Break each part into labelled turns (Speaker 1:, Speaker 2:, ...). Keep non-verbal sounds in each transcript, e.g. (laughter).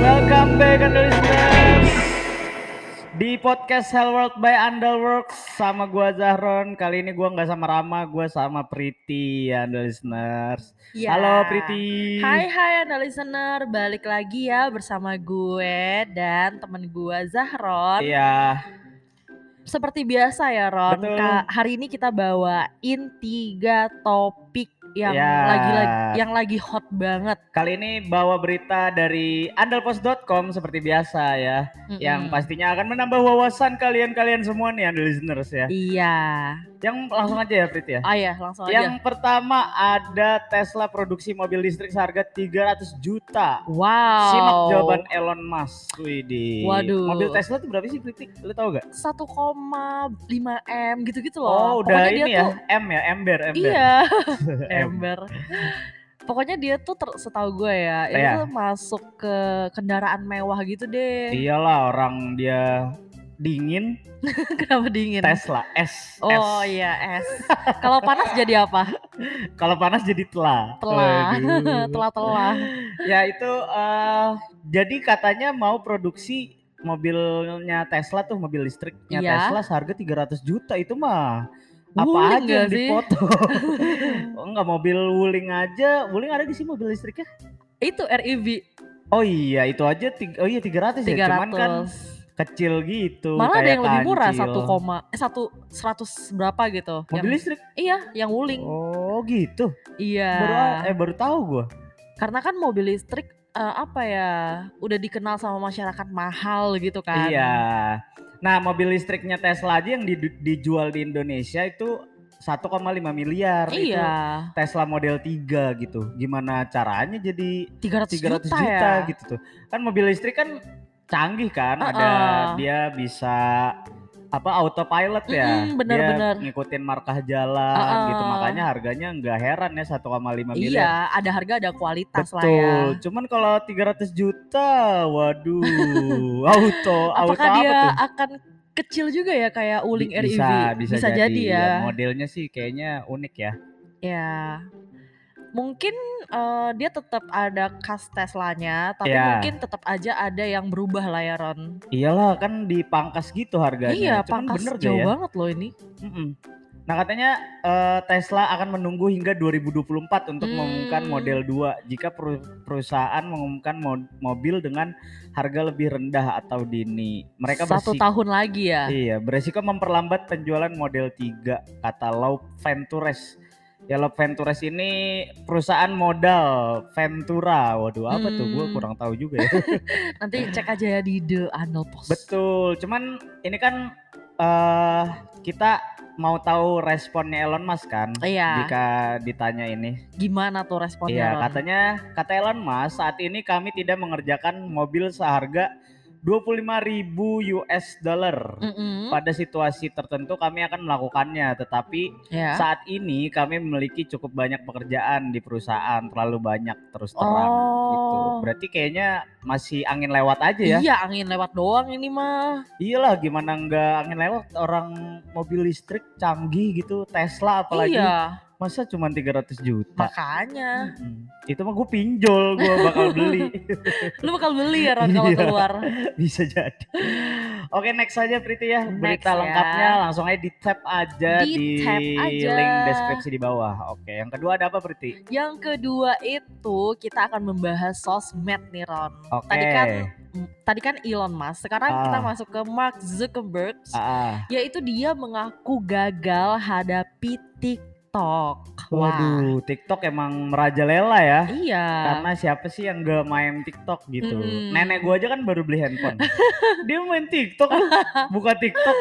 Speaker 1: Welcome back and listeners di podcast Hell World by Underworks sama gua Zahron. Kali ini gua nggak sama Rama, gua sama Priti ya and listeners.
Speaker 2: Ya.
Speaker 1: Halo Priti.
Speaker 2: Hai hai anda listener, balik lagi ya bersama gue dan temen gue Zahron.
Speaker 1: Iya,
Speaker 2: Seperti biasa ya Ron,
Speaker 1: Betul.
Speaker 2: Ka- hari ini kita bawain tiga topik yang
Speaker 1: Ya.
Speaker 2: lagi lagi yang lagi hot banget.
Speaker 1: kali ini bawa berita dari underpost.com seperti biasa ya, yang
Speaker 2: Mm-mm.
Speaker 1: pastinya akan menambah wawasan kalian-kalian semua nih and listeners ya.
Speaker 2: Iya.
Speaker 1: Yang langsung aja ya Priti ya.
Speaker 2: Oh ya langsung aja.
Speaker 1: Yang pertama ada Tesla produksi mobil listrik seharga 300 juta.
Speaker 2: Wow.
Speaker 1: Simak jawaban Elon Musk. Widih.
Speaker 2: Waduh.
Speaker 1: Mobil Tesla tuh berapa sih kritik? Lu tau gak?
Speaker 2: 1,5 m gitu-gitu
Speaker 1: Oh,
Speaker 2: loh.
Speaker 1: udah
Speaker 2: Pokoknya
Speaker 1: ini
Speaker 2: dia
Speaker 1: ya.
Speaker 2: tuh
Speaker 1: M ya, ember, (laughs) ember.
Speaker 2: iya. (laughs)
Speaker 1: Em.
Speaker 2: ember. Pokoknya dia tuh ter, setahu gue ya, itu
Speaker 1: Iya.
Speaker 2: tuh masuk ke kendaraan mewah gitu
Speaker 1: Iya.
Speaker 2: deh.
Speaker 1: Iyalah orang dia dingin
Speaker 2: (laughs) Kenapa dingin?
Speaker 1: Tesla S.
Speaker 2: Oh
Speaker 1: S.
Speaker 2: iya es. Kalau panas jadi
Speaker 1: (laughs)
Speaker 2: apa?
Speaker 1: Kalau panas jadi telah.
Speaker 2: (laughs) Telah.
Speaker 1: Waduh.
Speaker 2: Telah-telah.
Speaker 1: Ya itu eh, jadi katanya mau produksi mobilnya Tesla tuh mobil listriknya
Speaker 2: Iya.
Speaker 1: Tesla seharga 300 juta itu mah apa aja
Speaker 2: Wuling
Speaker 1: yang
Speaker 2: nggak sih?
Speaker 1: dipoto
Speaker 2: (laughs)
Speaker 1: oh, enggak mobil wuling aja wuling ada di sih mobil listriknya
Speaker 2: Itu E REV
Speaker 1: oh iya itu aja tiga, oh iya 300, ya cuman kan
Speaker 2: 300.
Speaker 1: kecil gitu
Speaker 2: Malah ada
Speaker 1: kayak
Speaker 2: yang lebih murah
Speaker 1: kancil.
Speaker 2: 1, eh 1 100 berapa gitu.
Speaker 1: mobil
Speaker 2: Yang-
Speaker 1: listrik
Speaker 2: iya, yang wuling.
Speaker 1: oh gitu
Speaker 2: Iya.
Speaker 1: baru eh baru tahu gua
Speaker 2: Karena kan mobil listrik eh, apa ya udah dikenal sama masyarakat mahal gitu kan.
Speaker 1: Iya. Nah, mobil listriknya Tesla aja yang di- dijual di Indonesia itu 1,5 miliar itu.
Speaker 2: Iya.
Speaker 1: Tesla model 3 gitu. Gimana caranya jadi 300
Speaker 2: 300, juta,
Speaker 1: juta,
Speaker 2: ya.
Speaker 1: gitu tuh. Kan mobil listrik kan canggih kan, ada
Speaker 2: Uh-uh.
Speaker 1: dia bisa apa autopilot ya. dia
Speaker 2: Mm-mm, bener-bener.
Speaker 1: ngikutin markah jalan
Speaker 2: Uh-uh.
Speaker 1: gitu. Makanya harganya nggak heran ya 1,5 miliar.
Speaker 2: Iya, ada harga ada kualitas lah ya.
Speaker 1: Betul. Cuman kalau 300 juta, waduh. auto, auto
Speaker 2: Apakah
Speaker 1: apa
Speaker 2: dia
Speaker 1: tuh?
Speaker 2: akan kecil juga ya kayak uling
Speaker 1: Bi-
Speaker 2: REV?
Speaker 1: bisa, bisa, jadi,
Speaker 2: ya.
Speaker 1: Modelnya sih kayaknya unik ya.
Speaker 2: Ya. Mungkin eh, dia tetap ada khas Teslanya, tapi
Speaker 1: Ya.
Speaker 2: mungkin tetap aja ada yang berubah lah ya Ron.
Speaker 1: Iyalah kan dipangkas gitu harganya.
Speaker 2: iya,
Speaker 1: Cuman
Speaker 2: pangkas
Speaker 1: bener gak
Speaker 2: jauh
Speaker 1: ya?
Speaker 2: banget loh ini.
Speaker 1: Mm-mm. Nah katanya eh, Tesla akan menunggu hingga 2024 untuk
Speaker 2: Hmm.
Speaker 1: mengumumkan model 2 jika peru- perusahaan mengumumkan mo- mobil dengan harga lebih rendah atau dini. Mereka bersik-
Speaker 2: satu tahun lagi ya.
Speaker 1: Iya, beresiko memperlambat penjualan model 3 kata Lau Ventures. Ya Lau Ventures ini perusahaan modal Ventura. Waduh, apa tuh? Gue
Speaker 2: Hmm.
Speaker 1: kurang tahu juga ya. (laughs)
Speaker 2: Nanti cek aja ya di The Anal Post.
Speaker 1: Betul. Cuman ini kan eh kita mau tahu responnya Elon Musk kan?
Speaker 2: Iya,
Speaker 1: Jika ditanya ini,
Speaker 2: gimana tuh responnya?
Speaker 1: iya
Speaker 2: Ron?
Speaker 1: katanya kata Elon Musk saat ini kami tidak mengerjakan mobil seharga 25.000 US dollar.
Speaker 2: Mm-mm,
Speaker 1: Pada situasi tertentu kami akan melakukannya, tetapi
Speaker 2: ya.
Speaker 1: saat ini kami memiliki cukup banyak pekerjaan di perusahaan, terlalu banyak terus terang gitu.
Speaker 2: Oh.
Speaker 1: Berarti kayaknya masih angin lewat aja ya.
Speaker 2: Iya, angin lewat doang ini mah.
Speaker 1: Iyalah gimana nggak angin lewat orang mobil listrik canggih gitu, Tesla apalagi.
Speaker 2: Iya,
Speaker 1: Masa cuma 300 juta? (laughs)
Speaker 2: makanya.
Speaker 1: Mm-mm. Itu mah gue pinjol,
Speaker 2: (laughs)
Speaker 1: gue bakal beli. (laughs)
Speaker 2: Lu bakal beli ya Ron kalau
Speaker 1: Iya.
Speaker 2: keluar.
Speaker 1: Bisa jadi. Oke, next aja Priti ya. Berita
Speaker 2: Next ya.
Speaker 1: lengkapnya langsung aja di tap aja
Speaker 2: Di
Speaker 1: di,
Speaker 2: tap aja.
Speaker 1: link deskripsi di bawah. Oke, yang kedua ada apa Priti?
Speaker 2: Yang kedua itu kita akan membahas sosmed nih Ron.
Speaker 1: Oke.
Speaker 2: Tadi kan tadi kan Elon Musk, sekarang kita
Speaker 1: Ah.
Speaker 2: masuk ke Mark Zuckerberg,
Speaker 1: Ah,
Speaker 2: yaitu dia mengaku gagal hadapi TikTok. Wah.
Speaker 1: waduh, TikTok emang merajalela ya.
Speaker 2: Iya.
Speaker 1: Karena siapa sih yang gak main TikTok gitu?
Speaker 2: Mm-mm.
Speaker 1: Nenek gua aja kan baru beli handphone.
Speaker 2: (laughs)
Speaker 1: Dia main TikTok, lu. buka TikTok.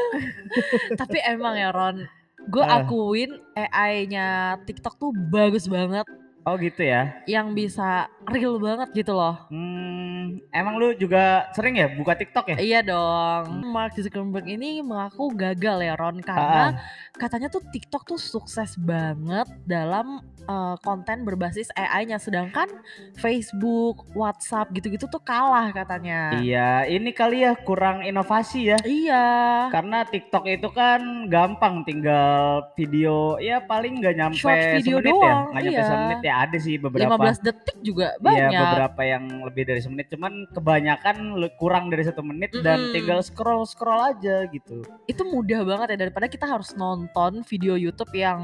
Speaker 2: (laughs) Tapi emang ya Ron, gue
Speaker 1: Ah.
Speaker 2: akuin AI-nya TikTok tuh bagus banget.
Speaker 1: Oh gitu ya.
Speaker 2: yang bisa real banget gitu loh.
Speaker 1: Hmm, emang lu juga sering ya buka TikTok ya?
Speaker 2: Iya dong.
Speaker 1: Hmm.
Speaker 2: Mark Zuckerberg ini mengaku gagal ya
Speaker 1: Ah,
Speaker 2: Ron karena katanya tuh TikTok tuh sukses banget dalam eh, konten berbasis AI-nya sedangkan Facebook, WhatsApp gitu-gitu tuh kalah katanya.
Speaker 1: Iya, ini kali ya kurang inovasi ya.
Speaker 2: Iya.
Speaker 1: Karena TikTok itu kan gampang tinggal video ya paling nggak nyampe
Speaker 2: Short video
Speaker 1: semenit ya,
Speaker 2: doang,
Speaker 1: nggak nyampe
Speaker 2: iya.
Speaker 1: semenit ya ada sih beberapa.
Speaker 2: 15 detik juga
Speaker 1: Iya
Speaker 2: banyak.
Speaker 1: beberapa yang lebih dari semenit, cuman kebanyakan le- kurang dari satu menit dan
Speaker 2: Mm-mm.
Speaker 1: tinggal scroll scroll aja gitu.
Speaker 2: Itu mudah banget ya daripada kita harus nonton video YouTube yang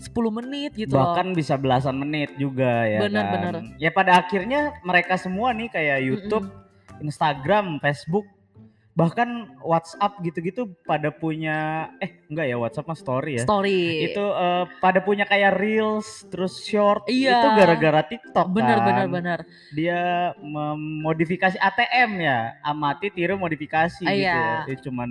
Speaker 2: 10 menit gitu loh.
Speaker 1: Bahkan bisa belasan menit juga ya.
Speaker 2: Bener,
Speaker 1: kan?
Speaker 2: bener.
Speaker 1: Ya pada akhirnya mereka semua nih kayak YouTube, Instagram, Facebook, bahkan WhatsApp gitu-gitu pada punya eh enggak ya WhatsApp mah story ya.
Speaker 2: Story.
Speaker 1: Itu eh, pada punya kayak reels terus short
Speaker 2: Iya.
Speaker 1: itu gara-gara TikTok
Speaker 2: bener
Speaker 1: kan.
Speaker 2: bener bener.
Speaker 1: Dia memodifikasi ATM ya, amati tiru modifikasi
Speaker 2: Ah,
Speaker 1: gitu.
Speaker 2: iya.
Speaker 1: Ya. Dia cuman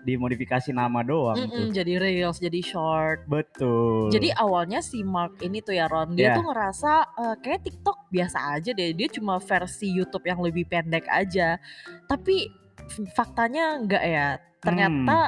Speaker 1: dimodifikasi nama doang
Speaker 2: Mm-mm,
Speaker 1: tuh.
Speaker 2: jadi reels, jadi short.
Speaker 1: Betul. Iya.
Speaker 2: Jadi awalnya si Mark ini tuh ya Ron dia
Speaker 1: Yeah.
Speaker 2: tuh ngerasa eh, kayak TikTok biasa aja deh. Dia cuma versi YouTube yang lebih pendek aja. Tapi f- faktanya enggak ya.
Speaker 1: Hmm.
Speaker 2: Ternyata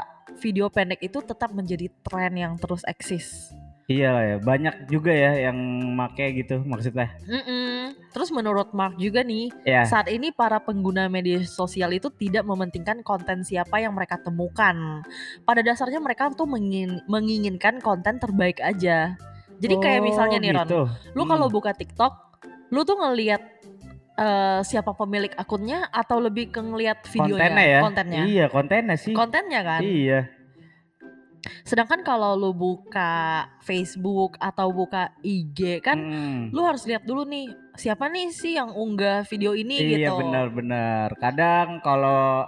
Speaker 2: video pendek itu tetap menjadi tren yang terus eksis.
Speaker 1: Iya lah ya, banyak juga ya yang make gitu maksudnya. Hmm.
Speaker 2: Mm-mm. Terus menurut Mark juga nih,
Speaker 1: Ya,
Speaker 2: saat ini para pengguna media sosial itu tidak mementingkan konten siapa yang mereka temukan. Pada dasarnya mereka tuh mengin- menginginkan konten terbaik aja. Jadi kayak
Speaker 1: Oh,
Speaker 2: misalnya nih Ron,
Speaker 1: gitu.
Speaker 2: lu
Speaker 1: Hmm.
Speaker 2: kalau buka TikTok, lu tuh ngelihat eh, siapa pemilik akunnya atau lebih ke ngelihat videonya,
Speaker 1: kontennya ya.
Speaker 2: kontennya,
Speaker 1: Iya, kontennya sih.
Speaker 2: kontennya kan.
Speaker 1: Iya.
Speaker 2: Sedangkan kalau lu buka Facebook atau buka IG kan,
Speaker 1: Mm.
Speaker 2: lu harus lihat dulu nih siapa nih sih yang unggah video ini
Speaker 1: Iya
Speaker 2: gitu.
Speaker 1: benar-benar. Kadang kalau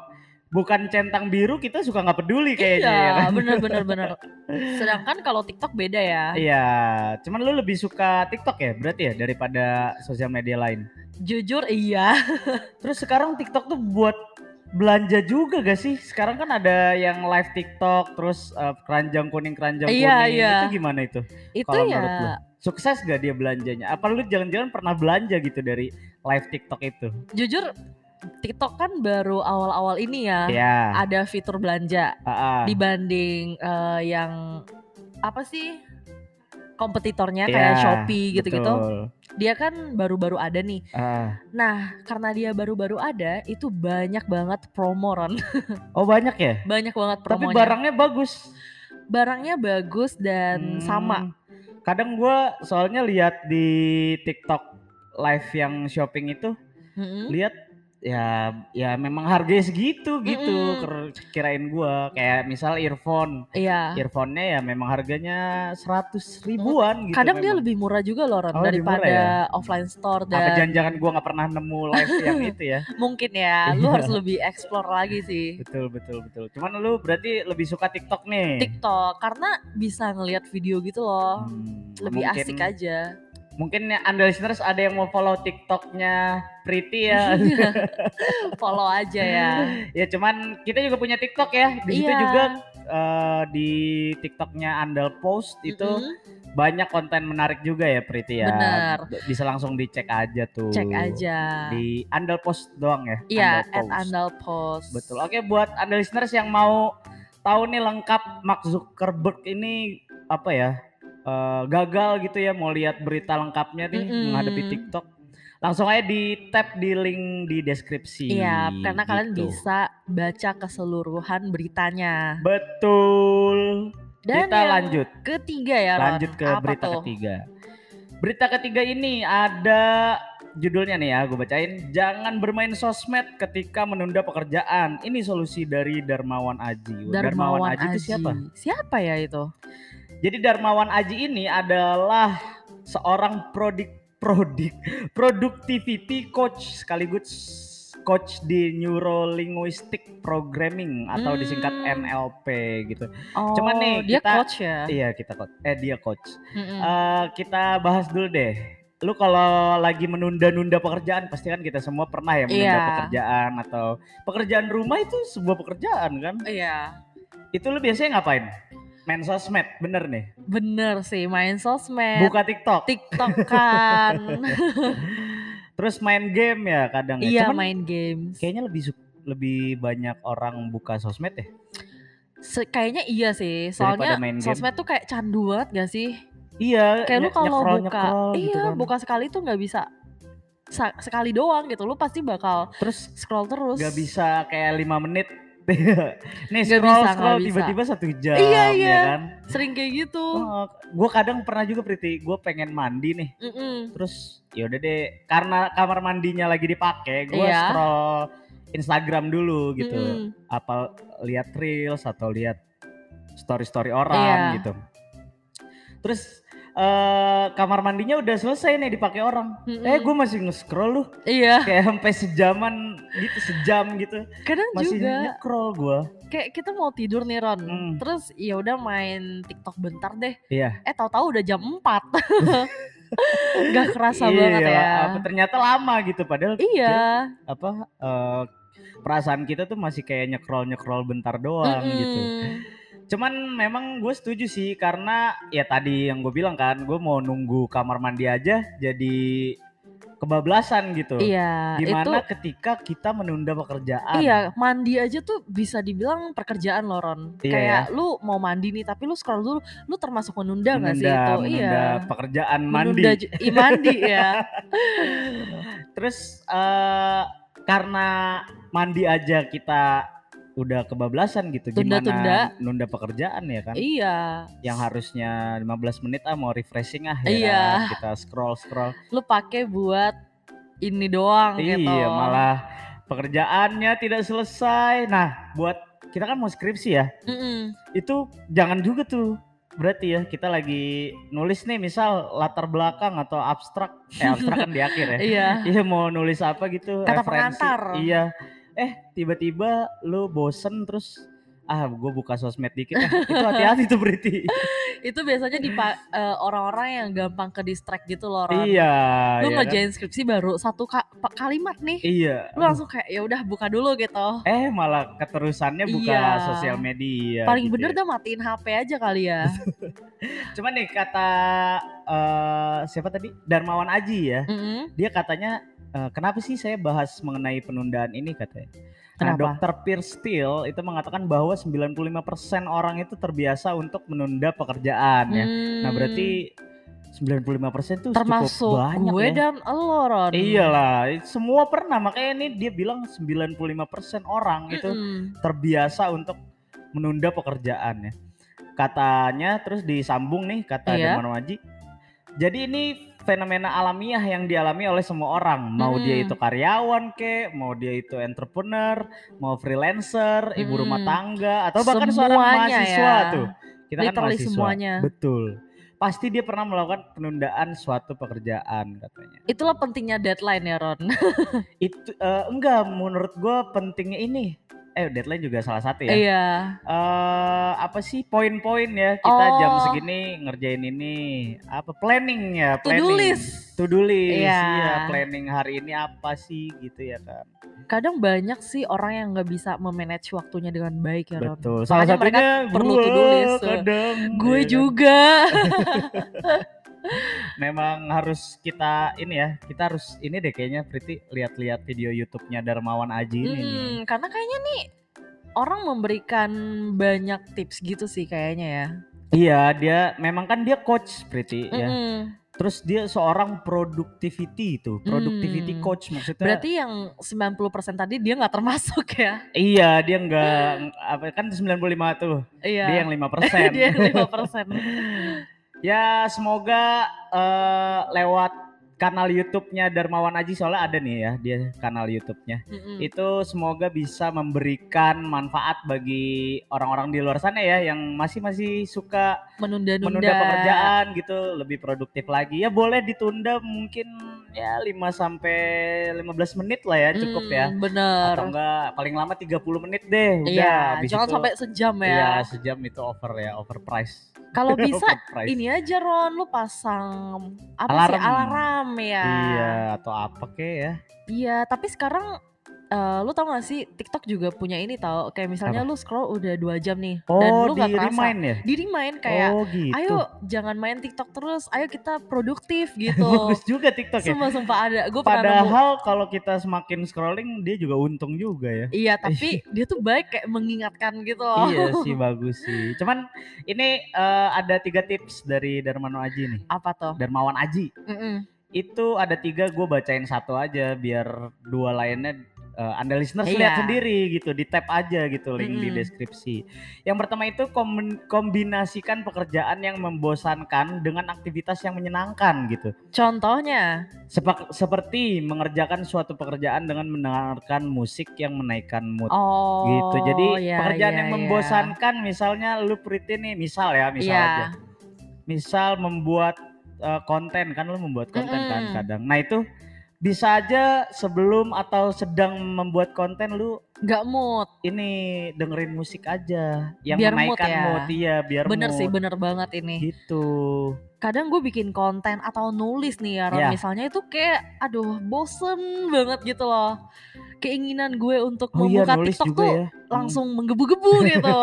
Speaker 1: bukan centang biru kita suka nggak peduli kayaknya
Speaker 2: Iya,
Speaker 1: ya kan.
Speaker 2: bener bener
Speaker 1: (laughs)
Speaker 2: bener. Sedangkan kalau TikTok beda ya.
Speaker 1: Iya, cuman lu lebih suka TikTok ya berarti ya daripada sosial media lain.
Speaker 2: Jujur iya.
Speaker 1: Terus sekarang TikTok tuh buat belanja juga gak sih? Sekarang kan ada yang live TikTok, terus eh, keranjang kuning keranjang
Speaker 2: Iya,
Speaker 1: kuning
Speaker 2: iya.
Speaker 1: itu gimana itu?
Speaker 2: Itu
Speaker 1: Kalau
Speaker 2: ya.
Speaker 1: menurut lu? Sukses gak dia belanjanya? Apa lu jangan-jangan pernah belanja gitu dari live TikTok itu?
Speaker 2: Jujur TikTok kan baru awal-awal ini ya.
Speaker 1: Ya.
Speaker 2: Ada fitur belanja.
Speaker 1: ah, ah.
Speaker 2: dibanding eh, yang apa sih kompetitornya
Speaker 1: Iya,
Speaker 2: kayak Shopee gitu-gitu.
Speaker 1: betul.
Speaker 2: Dia kan baru-baru ada nih.
Speaker 1: Ah.
Speaker 2: Nah, karena dia baru-baru ada, itu banyak banget promo Ron. (laughs)
Speaker 1: Oh banyak ya?
Speaker 2: banyak banget
Speaker 1: Tapi
Speaker 2: promonya.
Speaker 1: barangnya bagus.
Speaker 2: barangnya bagus dan
Speaker 1: Hmm,
Speaker 2: sama.
Speaker 1: Kadang gua soalnya lihat di TikTok live yang shopping itu
Speaker 2: Hmm? Mm-mm.
Speaker 1: lihat ya ya memang harganya segitu gitu
Speaker 2: Mm-mm.
Speaker 1: ker- kirain gua kayak misal earphone
Speaker 2: Iya.
Speaker 1: earphone-nya ya memang harganya 100 ribuan gitu
Speaker 2: Hmm. Kadang dia
Speaker 1: memang.
Speaker 2: lebih murah juga loh
Speaker 1: Oh,
Speaker 2: Ron
Speaker 1: lebih murah
Speaker 2: daripada offline store
Speaker 1: apa
Speaker 2: dan
Speaker 1: jangan-jangan gua nggak pernah nemu live
Speaker 2: (laughs)
Speaker 1: yang itu ya
Speaker 2: mungkin ya lu
Speaker 1: Iya.
Speaker 2: harus lebih explore lagi sih.
Speaker 1: betul betul betul cuman lu berarti lebih suka TikTok nih
Speaker 2: TikTok karena bisa ngelihat video gitu loh.
Speaker 1: Hmm,
Speaker 2: Lebih
Speaker 1: mungkin-
Speaker 2: asik aja.
Speaker 1: mungkin ya, anda listeners ada yang mau follow TikToknya Priti ya
Speaker 2: (laughs) Follow aja ya.
Speaker 1: (laughs) ya cuman kita juga punya TikTok ya di situ
Speaker 2: Iya.
Speaker 1: juga eh, di TikToknya Andal Post itu
Speaker 2: Mm-mm.
Speaker 1: banyak konten menarik juga ya Priti ya
Speaker 2: Mm-hmm. Benar.
Speaker 1: B- bisa langsung dicek aja tuh
Speaker 2: cek aja.
Speaker 1: di Andal Post doang ya
Speaker 2: Iya,
Speaker 1: Andal
Speaker 2: at
Speaker 1: Post.
Speaker 2: andal post.
Speaker 1: betul oke buat anda listeners yang mau tahu nih lengkap Mark Zuckerberg ini apa ya eh, gagal gitu ya mau lihat berita lengkapnya nih
Speaker 2: Mm-mm.
Speaker 1: menghadapi TikTok langsung aja di tap di link di deskripsi
Speaker 2: Iya, karena kalian
Speaker 1: gitu.
Speaker 2: bisa baca keseluruhan beritanya.
Speaker 1: Betul.
Speaker 2: Dan
Speaker 1: Kita
Speaker 2: yang
Speaker 1: lanjut.
Speaker 2: Ketiga ya, Ron.
Speaker 1: Lanjut ke
Speaker 2: Apa
Speaker 1: berita
Speaker 2: tuh?
Speaker 1: ketiga. Berita ketiga ini ada judulnya nih ya, gue bacain. Jangan bermain sosmed ketika menunda pekerjaan. Ini solusi dari Darmawan Aji.
Speaker 2: Darmawan Aji.
Speaker 1: itu siapa?
Speaker 2: Siapa ya itu?
Speaker 1: Jadi Darmawan Aji ini adalah seorang prodik prodik (laughs) productivity coach sekaligus coach di neurolinguistic programming atau disingkat
Speaker 2: Hmm.
Speaker 1: NLP gitu.
Speaker 2: Oh,
Speaker 1: Cuman nih,
Speaker 2: dia
Speaker 1: kita-
Speaker 2: coach ya.
Speaker 1: Iya kita coach. Eh dia coach.
Speaker 2: Mm-mm.
Speaker 1: Eh, kita bahas dulu deh. Lu kalau lagi menunda-nunda pekerjaan, pasti kan kita semua pernah ya menunda
Speaker 2: Iya.
Speaker 1: pekerjaan atau pekerjaan rumah itu sebuah pekerjaan kan?
Speaker 2: Iya.
Speaker 1: Itu lu biasanya ngapain? Main sosmed, bener nih.
Speaker 2: Bener sih main sosmed,
Speaker 1: Buka TikTok,
Speaker 2: TikTok kan.
Speaker 1: (laughs) terus main game ya kadang. ya.
Speaker 2: (laughs) Iya
Speaker 1: Cuman
Speaker 2: main games.
Speaker 1: kayaknya lebih su- lebih banyak orang buka sosmed ya.
Speaker 2: Se- kayaknya iya sih.
Speaker 1: Daripada
Speaker 2: Soalnya
Speaker 1: main game.
Speaker 2: sosmed tuh kayak candu banget gak sih?
Speaker 1: Iya.
Speaker 2: Kayak lu
Speaker 1: nye-
Speaker 2: kalau
Speaker 1: nyekrol-
Speaker 2: buka,
Speaker 1: nyekrol
Speaker 2: iya
Speaker 1: gitu kan.
Speaker 2: buka sekali tuh nggak bisa sa- sekali doang gitu. Lu pasti bakal
Speaker 1: Terus
Speaker 2: scroll terus.
Speaker 1: nggak bisa kayak lima menit. (laughs) Nih
Speaker 2: Nggak
Speaker 1: scroll
Speaker 2: bisa, nggak
Speaker 1: scroll
Speaker 2: bisa.
Speaker 1: tiba-tiba satu jam
Speaker 2: Iya, iya.
Speaker 1: ya kan.
Speaker 2: Sering kayak gitu.
Speaker 1: gue Oh, kadang pernah juga Priti, gue pengen mandi nih.
Speaker 2: Mm-mm.
Speaker 1: Terus ya udah deh, karena kamar mandinya lagi dipakai, gue
Speaker 2: Iya.
Speaker 1: scroll Instagram dulu gitu.
Speaker 2: Mm-mm.
Speaker 1: Apa lihat reels atau lihat story-story orang
Speaker 2: Iya.
Speaker 1: gitu. Terus eh kamar mandinya udah selesai nih dipakai orang.
Speaker 2: Mm-mm.
Speaker 1: Eh gue masih nge-scroll lu (laughs)
Speaker 2: Iya,
Speaker 1: kayak sampai sejaman gitu, sejam gitu.
Speaker 2: kadang
Speaker 1: Masih
Speaker 2: juga
Speaker 1: nge-scroll gue.
Speaker 2: kayak kita mau tidur nih Ron.
Speaker 1: Hmm.
Speaker 2: Terus ya udah main TikTok bentar deh.
Speaker 1: Iya.
Speaker 2: Eh tahu-tahu udah jam (laughs) 4. Gak kerasa
Speaker 1: Iya,
Speaker 2: banget ya.
Speaker 1: apa, ternyata lama gitu padahal
Speaker 2: Iya,
Speaker 1: apa eh, perasaan kita tuh masih kayak nyekrol nyekrol bentar doang
Speaker 2: Mm-mm.
Speaker 1: gitu. Cuman memang gue setuju sih karena ya tadi yang gue bilang kan gue mau nunggu kamar mandi aja jadi kebablasan gitu.
Speaker 2: Iya, itu
Speaker 1: Gimana ketika kita menunda pekerjaan?
Speaker 2: Iya, mandi aja tuh bisa dibilang pekerjaan loh Ron.
Speaker 1: Iya
Speaker 2: Kayak lu mau mandi nih tapi lu scroll dulu, lu termasuk menunda
Speaker 1: menunda,
Speaker 2: iya nggak sih itu?
Speaker 1: menunda pekerjaan mandi.
Speaker 2: Menunda ju- i,
Speaker 1: (laughs)
Speaker 2: mandi ya.
Speaker 1: Terus eh, karena mandi aja kita udah kebablasan gitu
Speaker 2: Tunda-tunda.
Speaker 1: gimana nunda pekerjaan ya kan?
Speaker 2: iya.
Speaker 1: yang harusnya 15 menit ah mau refreshing ah ya
Speaker 2: Iya.
Speaker 1: kan? kita scroll scroll
Speaker 2: Lu pakai buat ini doang gitu.
Speaker 1: iya malah pekerjaannya tidak selesai nah buat kita kan mau skripsi ya
Speaker 2: Mm-mm.
Speaker 1: itu jangan juga tuh berarti ya kita lagi nulis nih misal latar belakang atau abstrak eh abstrak kan di akhir ya
Speaker 2: (laughs) Iya.
Speaker 1: iya mau nulis apa gitu
Speaker 2: Kata
Speaker 1: referensi
Speaker 2: pengantar.
Speaker 1: iya eh tiba-tiba lu bosen terus ah gue buka sosmed dikit ah, itu hati-hati tuh
Speaker 2: (laughs)
Speaker 1: berarti
Speaker 2: Itu biasanya di orang-orang yang gampang ke distract gitu loh Ron.
Speaker 1: iya iya
Speaker 2: Lu
Speaker 1: kan?
Speaker 2: ngejain skripsi baru satu ka- pa- kalimat nih.
Speaker 1: iya
Speaker 2: Lu langsung kayak ya udah buka dulu gitu.
Speaker 1: Eh malah keterusannya buka
Speaker 2: Iya.
Speaker 1: sosial media.
Speaker 2: Paling
Speaker 1: gitu
Speaker 2: bener
Speaker 1: ya.
Speaker 2: dah matiin HP aja kali
Speaker 1: (laughs)
Speaker 2: ya.
Speaker 1: Cuman nih kata eh, siapa tadi Darmawan Aji ya,
Speaker 2: Mm-mm.
Speaker 1: dia katanya eh, kenapa sih saya bahas mengenai penundaan ini katanya. Nah,
Speaker 2: Kenapa?
Speaker 1: dokter Pierce Steele itu mengatakan bahwa 95% orang itu terbiasa untuk menunda pekerjaan ya. Nah,
Speaker 2: Hmm.
Speaker 1: berarti 95% tuh
Speaker 2: termasuk
Speaker 1: cukup banyak ya.
Speaker 2: gue
Speaker 1: Iya
Speaker 2: dan lo Ron
Speaker 1: Iyalah, semua pernah makanya ini dia bilang 95% orang itu
Speaker 2: Mm-mm.
Speaker 1: terbiasa untuk menunda pekerjaannya. Katanya terus disambung nih kata
Speaker 2: Iya.
Speaker 1: Darman Waji. Jadi ini fenomena alamiah yang dialami oleh semua orang. Mau dia
Speaker 2: Mm-mm.
Speaker 1: itu karyawan ke, mau dia itu entrepreneur, mau freelancer, ibu rumah
Speaker 2: Mm-mm.
Speaker 1: tangga atau bahkan seorang
Speaker 2: Semuanya
Speaker 1: mahasiswa
Speaker 2: ya.
Speaker 1: tuh. Kita kan
Speaker 2: Literally
Speaker 1: mahasiswa.
Speaker 2: semuanya.
Speaker 1: Betul. Pasti dia pernah melakukan penundaan suatu pekerjaan katanya.
Speaker 2: itulah pentingnya deadline ya Ron
Speaker 1: Itu eh, enggak menurut gua pentingnya ini. Eh deadline juga salah satu ya.
Speaker 2: (laughs) iya
Speaker 1: eh apa sih poin-poin ya kita jam
Speaker 2: Oh.
Speaker 1: segini ngerjain ini apa planning ya
Speaker 2: To-do
Speaker 1: planning
Speaker 2: list.
Speaker 1: to do list
Speaker 2: Iya.
Speaker 1: iya planning hari ini apa sih gitu ya kan
Speaker 2: kadang banyak sih orang yang nggak bisa memanage waktunya dengan baik ya Ron
Speaker 1: betul salah
Speaker 2: Makanya mereka
Speaker 1: satunya
Speaker 2: perlu
Speaker 1: gua
Speaker 2: to-do list.
Speaker 1: kadang
Speaker 2: gue
Speaker 1: iya kan. (laughs)
Speaker 2: juga
Speaker 1: memang harus kita ini ya kita harus ini deh kayaknya Priti lihat-lihat video YouTube-nya Darmawan Aji ini nih.
Speaker 2: Mm, karena kayaknya nih orang memberikan banyak tips gitu sih kayaknya ya
Speaker 1: iya dia memang kan dia coach Priti ya
Speaker 2: Mm-mm.
Speaker 1: terus dia seorang productivity itu productivity
Speaker 2: Hmm.
Speaker 1: coach maksudnya
Speaker 2: berarti yang 90% tadi dia nggak termasuk ya
Speaker 1: Iya, dia enggak apa kan 95 tuh. Dia
Speaker 2: iya
Speaker 1: yang 5%.
Speaker 2: (laughs) dia lima persen
Speaker 1: ya, semoga eh, lewat kanal YouTube-nya Darmawan Aji soalnya ada nih ya, dia kanal YouTube-nya.
Speaker 2: Hmm.
Speaker 1: Itu semoga bisa memberikan manfaat bagi orang-orang di luar sana ya yang masih-masih suka
Speaker 2: menunda-nunda
Speaker 1: menunda pekerjaan gitu, lebih produktif lagi. Ya boleh ditunda mungkin ya 5 sampai 15 menit lah ya cukup ya.
Speaker 2: Mm, bener
Speaker 1: Atau enggak paling lama 30 menit deh udah
Speaker 2: Iya,
Speaker 1: habis
Speaker 2: jangan
Speaker 1: itu-
Speaker 2: sampai sejam
Speaker 1: Iya,
Speaker 2: ya.
Speaker 1: sejam itu over ya, overprice.
Speaker 2: (laughs)
Speaker 1: (laughs)
Speaker 2: Kalau bisa
Speaker 1: Overprice.
Speaker 2: ini aja Ron, lu pasang apa sih
Speaker 1: Alarm.
Speaker 2: alarm ya.
Speaker 1: Iya, atau Iya, apa kek ya?
Speaker 2: Iya, tapi sekarang eh, lu tau gak sih TikTok juga punya ini tau kayak misalnya
Speaker 1: Apa?
Speaker 2: lu scroll udah dua jam nih dan
Speaker 1: Oh,
Speaker 2: lu
Speaker 1: di
Speaker 2: gak kerasa
Speaker 1: remind ya?
Speaker 2: di remind kayak
Speaker 1: oh gitu.
Speaker 2: ayo jangan main TikTok terus ayo kita
Speaker 1: (laughs)
Speaker 2: produktif gitu
Speaker 1: Bagus juga TikTok ya.
Speaker 2: sumpah sumpah ada gue pernah nemu
Speaker 1: Padahal kalau kita semakin scrolling dia juga untung juga ya.
Speaker 2: iya tapi
Speaker 1: (laughs)
Speaker 2: dia tuh baik kayak mengingatkan gitu loh
Speaker 1: Iya sih bagus sih. Cuman ini eh, ada tiga tips dari Darmano Aji nih.
Speaker 2: (laughs) apa tuh
Speaker 1: Darmawan Aji.
Speaker 2: Mm-mm.
Speaker 1: Itu ada tiga gue bacain satu aja biar dua lainnya eh, anda listeners
Speaker 2: Iya.
Speaker 1: lihat sendiri gitu di tap aja gitu link di
Speaker 2: Mm-mm.
Speaker 1: deskripsi. Yang pertama itu kom- kombinasikan pekerjaan yang membosankan dengan aktivitas yang menyenangkan gitu.
Speaker 2: contohnya
Speaker 1: Sepak- seperti mengerjakan suatu pekerjaan dengan mendengarkan musik yang menaikkan mood
Speaker 2: oh
Speaker 1: gitu. Jadi
Speaker 2: iya,
Speaker 1: pekerjaan
Speaker 2: iya,
Speaker 1: yang
Speaker 2: iya.
Speaker 1: membosankan misalnya lu pretty nih, misal ya, misal
Speaker 2: Iya.
Speaker 1: aja. Misal membuat eh, konten kan lu membuat konten kan
Speaker 2: Mm-mm.
Speaker 1: kadang. Nah, itu bisa aja sebelum atau sedang membuat konten lu
Speaker 2: nggak mood
Speaker 1: ini dengerin musik aja yang
Speaker 2: Biar mood
Speaker 1: menaikkan
Speaker 2: ya.
Speaker 1: mood, iya, biar
Speaker 2: bener
Speaker 1: mood.
Speaker 2: sih bener banget ini
Speaker 1: gitu.
Speaker 2: kadang gue bikin konten atau nulis nih ya Ron,
Speaker 1: Iya.
Speaker 2: misalnya itu kayak aduh bosen banget gitu loh keinginan gue untuk
Speaker 1: Oh iya,
Speaker 2: membuka
Speaker 1: nulis
Speaker 2: TikTok
Speaker 1: juga
Speaker 2: tuh
Speaker 1: ya. Hmm.
Speaker 2: langsung menggebu-gebu gitu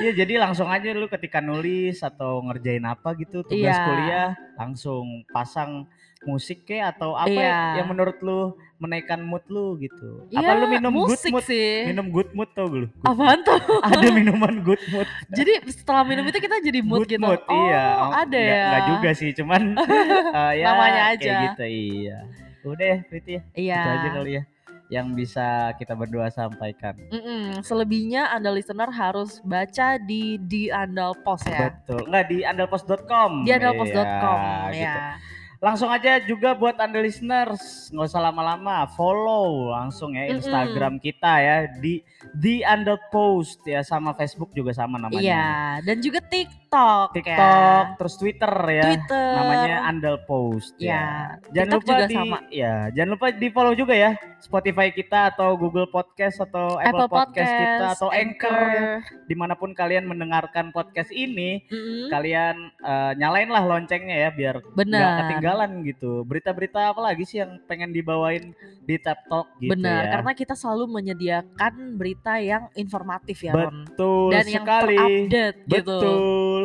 Speaker 1: Iya jadi langsung aja lu ketika nulis atau ngerjain apa gitu tugas
Speaker 2: Iya.
Speaker 1: kuliah langsung pasang musik ke atau apa
Speaker 2: Iya.
Speaker 1: yang menurut lu menaikkan mood lu gitu. (laughs) apa
Speaker 2: Iya,
Speaker 1: lu minum good
Speaker 2: musik
Speaker 1: mood?
Speaker 2: sih
Speaker 1: Minum good mood tau gak lu? Good mood.
Speaker 2: apaan tuh (laughs)
Speaker 1: Ada minuman good mood.
Speaker 2: jadi setelah minum itu kita jadi mood
Speaker 1: good
Speaker 2: gitu
Speaker 1: mood
Speaker 2: oh
Speaker 1: iya.
Speaker 2: ada
Speaker 1: Nggak-
Speaker 2: ya
Speaker 1: nggak juga sih
Speaker 2: (laughs)
Speaker 1: cuman eh, ya,
Speaker 2: Namanya
Speaker 1: kayak
Speaker 2: aja.
Speaker 1: gitu iya. Udah ya Priti ya.
Speaker 2: iya
Speaker 1: Itu aja kali ya yang bisa kita berdua sampaikan.
Speaker 2: Mm-mm. selebihnya anda listener harus baca di di andal pos ya
Speaker 1: Betul. Enggak di andalpos.com.
Speaker 2: di andalpos.com
Speaker 1: Iya, gitu.
Speaker 2: ya
Speaker 1: Langsung aja juga buat anda listeners, nggak usah lama-lama, follow langsung ya
Speaker 2: Mm-mm.
Speaker 1: Instagram kita ya di di underpost ya sama Facebook juga sama namanya.
Speaker 2: iya dan juga TikTok,
Speaker 1: TikTok,
Speaker 2: ya
Speaker 1: terus Twitter ya.
Speaker 2: Twitter
Speaker 1: Namanya underpost
Speaker 2: ya
Speaker 1: ya.
Speaker 2: TikTok juga
Speaker 1: di
Speaker 2: sama
Speaker 1: ya, jangan lupa di follow juga ya Spotify kita atau Google Podcast atau Apple, Podcast, kita atau Anchor, ya. dimanapun kalian mendengarkan podcast ini
Speaker 2: Mm-mm.
Speaker 1: kalian eh, nyalain lah loncengnya ya biar nggak
Speaker 2: benar
Speaker 1: ketinggalan gitu. Berita-berita apa lagi sih yang pengen dibawain di Tap Talk gitu
Speaker 2: benar
Speaker 1: ya?
Speaker 2: karena kita selalu menyediakan berita yang informatif ya Ron
Speaker 1: betul
Speaker 2: dan yang
Speaker 1: sekali.
Speaker 2: terupdate gitu
Speaker 1: Betul.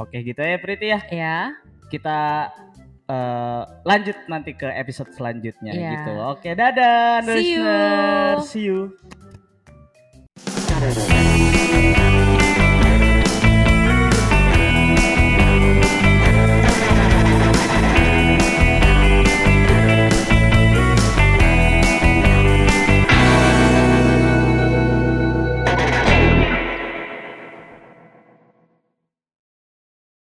Speaker 1: Oke gitu ya Priti ya.
Speaker 2: ya
Speaker 1: Kita eh, lanjut nanti ke episode selanjutnya
Speaker 2: Iya.
Speaker 1: gitu. Oke, dadah
Speaker 2: See you.
Speaker 1: listener. See you.